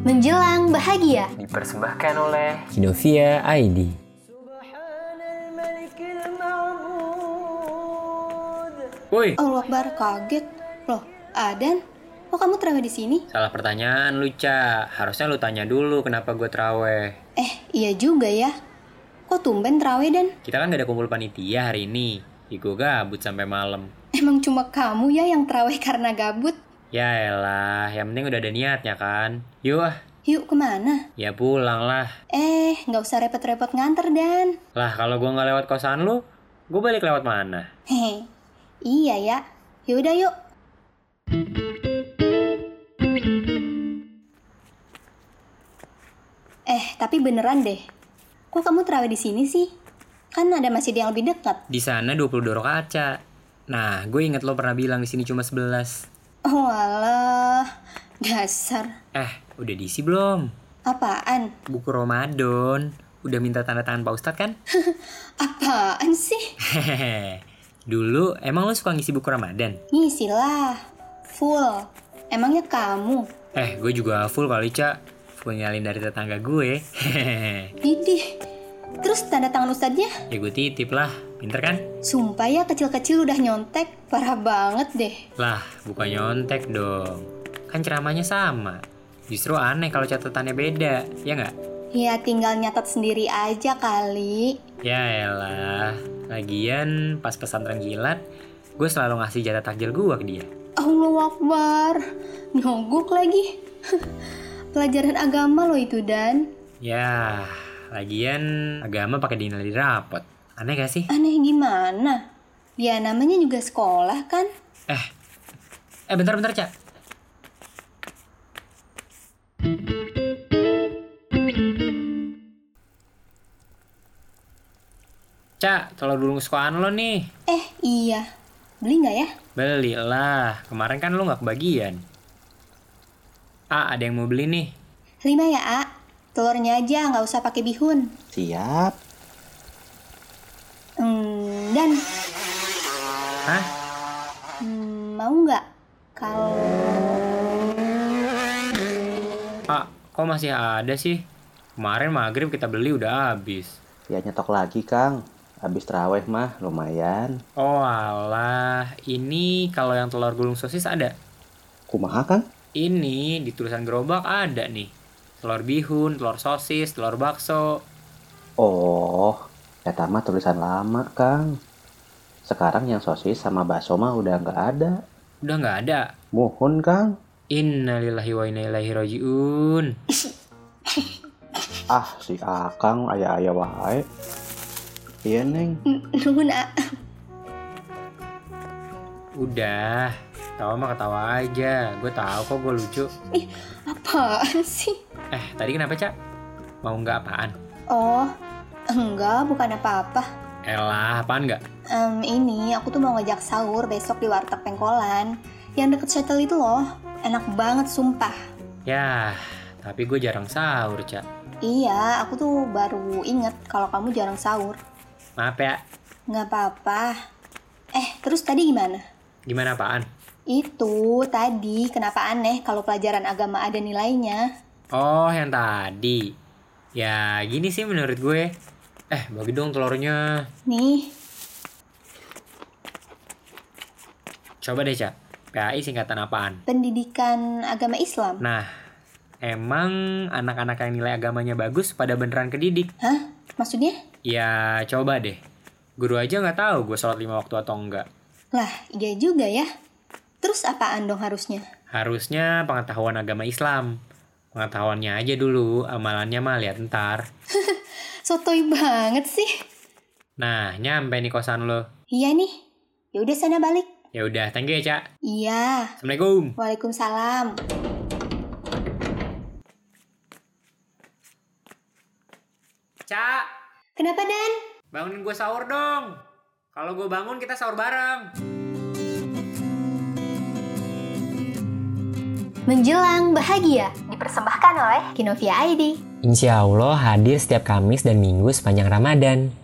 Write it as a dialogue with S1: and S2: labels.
S1: Menjelang bahagia
S2: Dipersembahkan oleh
S3: Kinovia ID.
S2: Woi,
S1: Allah Akbar kaget Loh, Adan, kok kamu terawih di sini?
S2: salah pertanyaan lu, Ca. Harusnya lu tanya dulu kenapa gue traweh.
S1: Eh, iya juga ya Kok tumben terawih, Dan?
S2: Kita kan gak ada kumpul panitia hari ini. Igo gabut sampai malam.
S1: Emang cuma kamu ya yang terawih karena gabut?
S2: Ya elah, yang penting udah ada niatnya kan. Yuk ah,
S1: Yuk kemana?
S2: ya pulang lah.
S1: Eh, nggak usah repot-repot nganter, Dan
S2: Lah kalau gue nggak lewat kosan lu, gue balik lewat mana?
S1: Hehe, iya ya Yaudah yuk Eh, tapi beneran deh Kok kamu terawih di sini sih? Kan ada masjid yang lebih dekat
S2: Di sana 20 doro kaca. Nah, gue inget lo pernah bilang di sini cuma 11.
S1: Walah, dasar.
S2: Eh, udah diisi belum?
S1: Apaan?
S2: Buku Ramadan. Udah minta tanda tangan Pak Ustadz kan?
S1: Apaan sih?
S2: Hehehe. Dulu emang lo suka ngisi buku Ramadan?
S1: Ngisilah. Full. Emangnya kamu?
S2: Eh, gue juga full kali, Ca. Full nyalin dari tetangga gue. Hehehe.
S1: Didih. Terus tanda tangan ustadznya?
S2: ya gue titip lah. Pinter kan?
S1: Sumpah ya kecil-kecil udah nyontek. Parah banget deh.
S2: Lah, bukan nyontek dong. Kan ceramahnya sama. Justru aneh kalau catatannya beda, ya nggak?
S1: Ya tinggal nyatat sendiri aja kali.
S2: Ya elah. Lagian pas pesantren kilat, gue selalu ngasih jatah takjil gue ke dia.
S1: Allah Akbar. Nyogok lagi. Pelajaran agama lo itu, Dan.
S2: Ya, lagian agama pakai dinilai di rapot. Aneh gak sih?
S1: Aneh gimana? Ya namanya juga sekolah kan?
S2: Eh, eh bentar-bentar, Cak. Cak, telur dulu kesukaan lo nih.
S1: Eh iya. Beli nggak ya?
S2: Belilah, kemarin kan lo nggak kebagian. Ah, ada yang mau beli nih.
S1: Lima ya, A. Telurnya aja, nggak usah pakai bihun.
S3: Siap.
S1: Hmm, dan
S2: Hah?
S1: hmm, mau nggak? Kalau
S2: Ah, kok masih ada sih? Kemarin maghrib kita beli udah habis.
S3: Ya nyetok lagi, Kang. Habis terawih mah lumayan.
S2: Oh alah, ini kalau yang telur gulung sosis ada.
S3: Kumaha, Kang?
S2: Ini di tulisan gerobak ada nih. Telur bihun, telur sosis, telur bakso.
S3: Oh, ya mah tulisan lama, Kang. Sekarang yang sosis sama bakso mah udah nggak ada.
S2: Udah nggak ada.
S3: Mohon, Kang.
S2: Innalillahi wa inna ilaihi rajiun.
S3: Ah, si Akang ayah-ayah wae. Iya, Neng.
S1: Hmm, nuhun A.
S2: Udah, tawa mah ketawa aja. Gue tahu kok gue lucu.
S1: Apaan sih?
S2: Eh, tadi kenapa, Cak? Mau nggak apaan?
S1: Oh, enggak, bukan apa-apa.
S2: Elah, apaan nggak?
S1: Em, ini aku tuh mau ngajak sahur besok di warteg pengkolan. Yang deket shuttle itu loh. Enak banget sumpah.
S2: Yah, tapi gue jarang sahur, Cak.
S1: Iya, aku tuh baru inget kalau kamu jarang sahur.
S2: Maaf ya.
S1: Nggak apa-apa. Eh, terus tadi gimana?
S2: Gimana apaan?
S1: Itu tadi kenapa aneh kalau pelajaran agama ada nilainya?
S2: Oh, yang tadi. Ya, gini sih menurut gue. Eh, bagi dong telurnya.
S1: Nih,
S2: Coba deh, Cak. PAI singkatan apaan?
S1: pendidikan agama Islam.
S2: Nah, emang anak-anak yang nilai agamanya bagus pada beneran kedidik?
S1: Hah? Maksudnya?
S2: Ya, coba deh. Guru aja nggak tahu gue sholat lima waktu atau enggak.
S1: Lah, iya juga ya. Terus apaan dong harusnya?
S2: Harusnya pengetahuan agama Islam. Pengetahuannya aja dulu, amalannya mah lihat ntar.
S1: Sotoy banget sih.
S2: Nah, nyampe nih kosan lo.
S1: Iya nih. Ya udah sana balik.
S2: Ya udah, thank you ya, Cak.
S1: Iya.
S2: Assalamualaikum.
S1: Waalaikumsalam.
S2: Cak,
S1: Kenapa Dan?
S2: bangunin gue sahur dong. Kalau gue bangun, kita sahur bareng.
S1: Menjelang bahagia dipersembahkan oleh Kinovia ID.
S4: Insya Allah hadir setiap Kamis dan Minggu sepanjang Ramadan.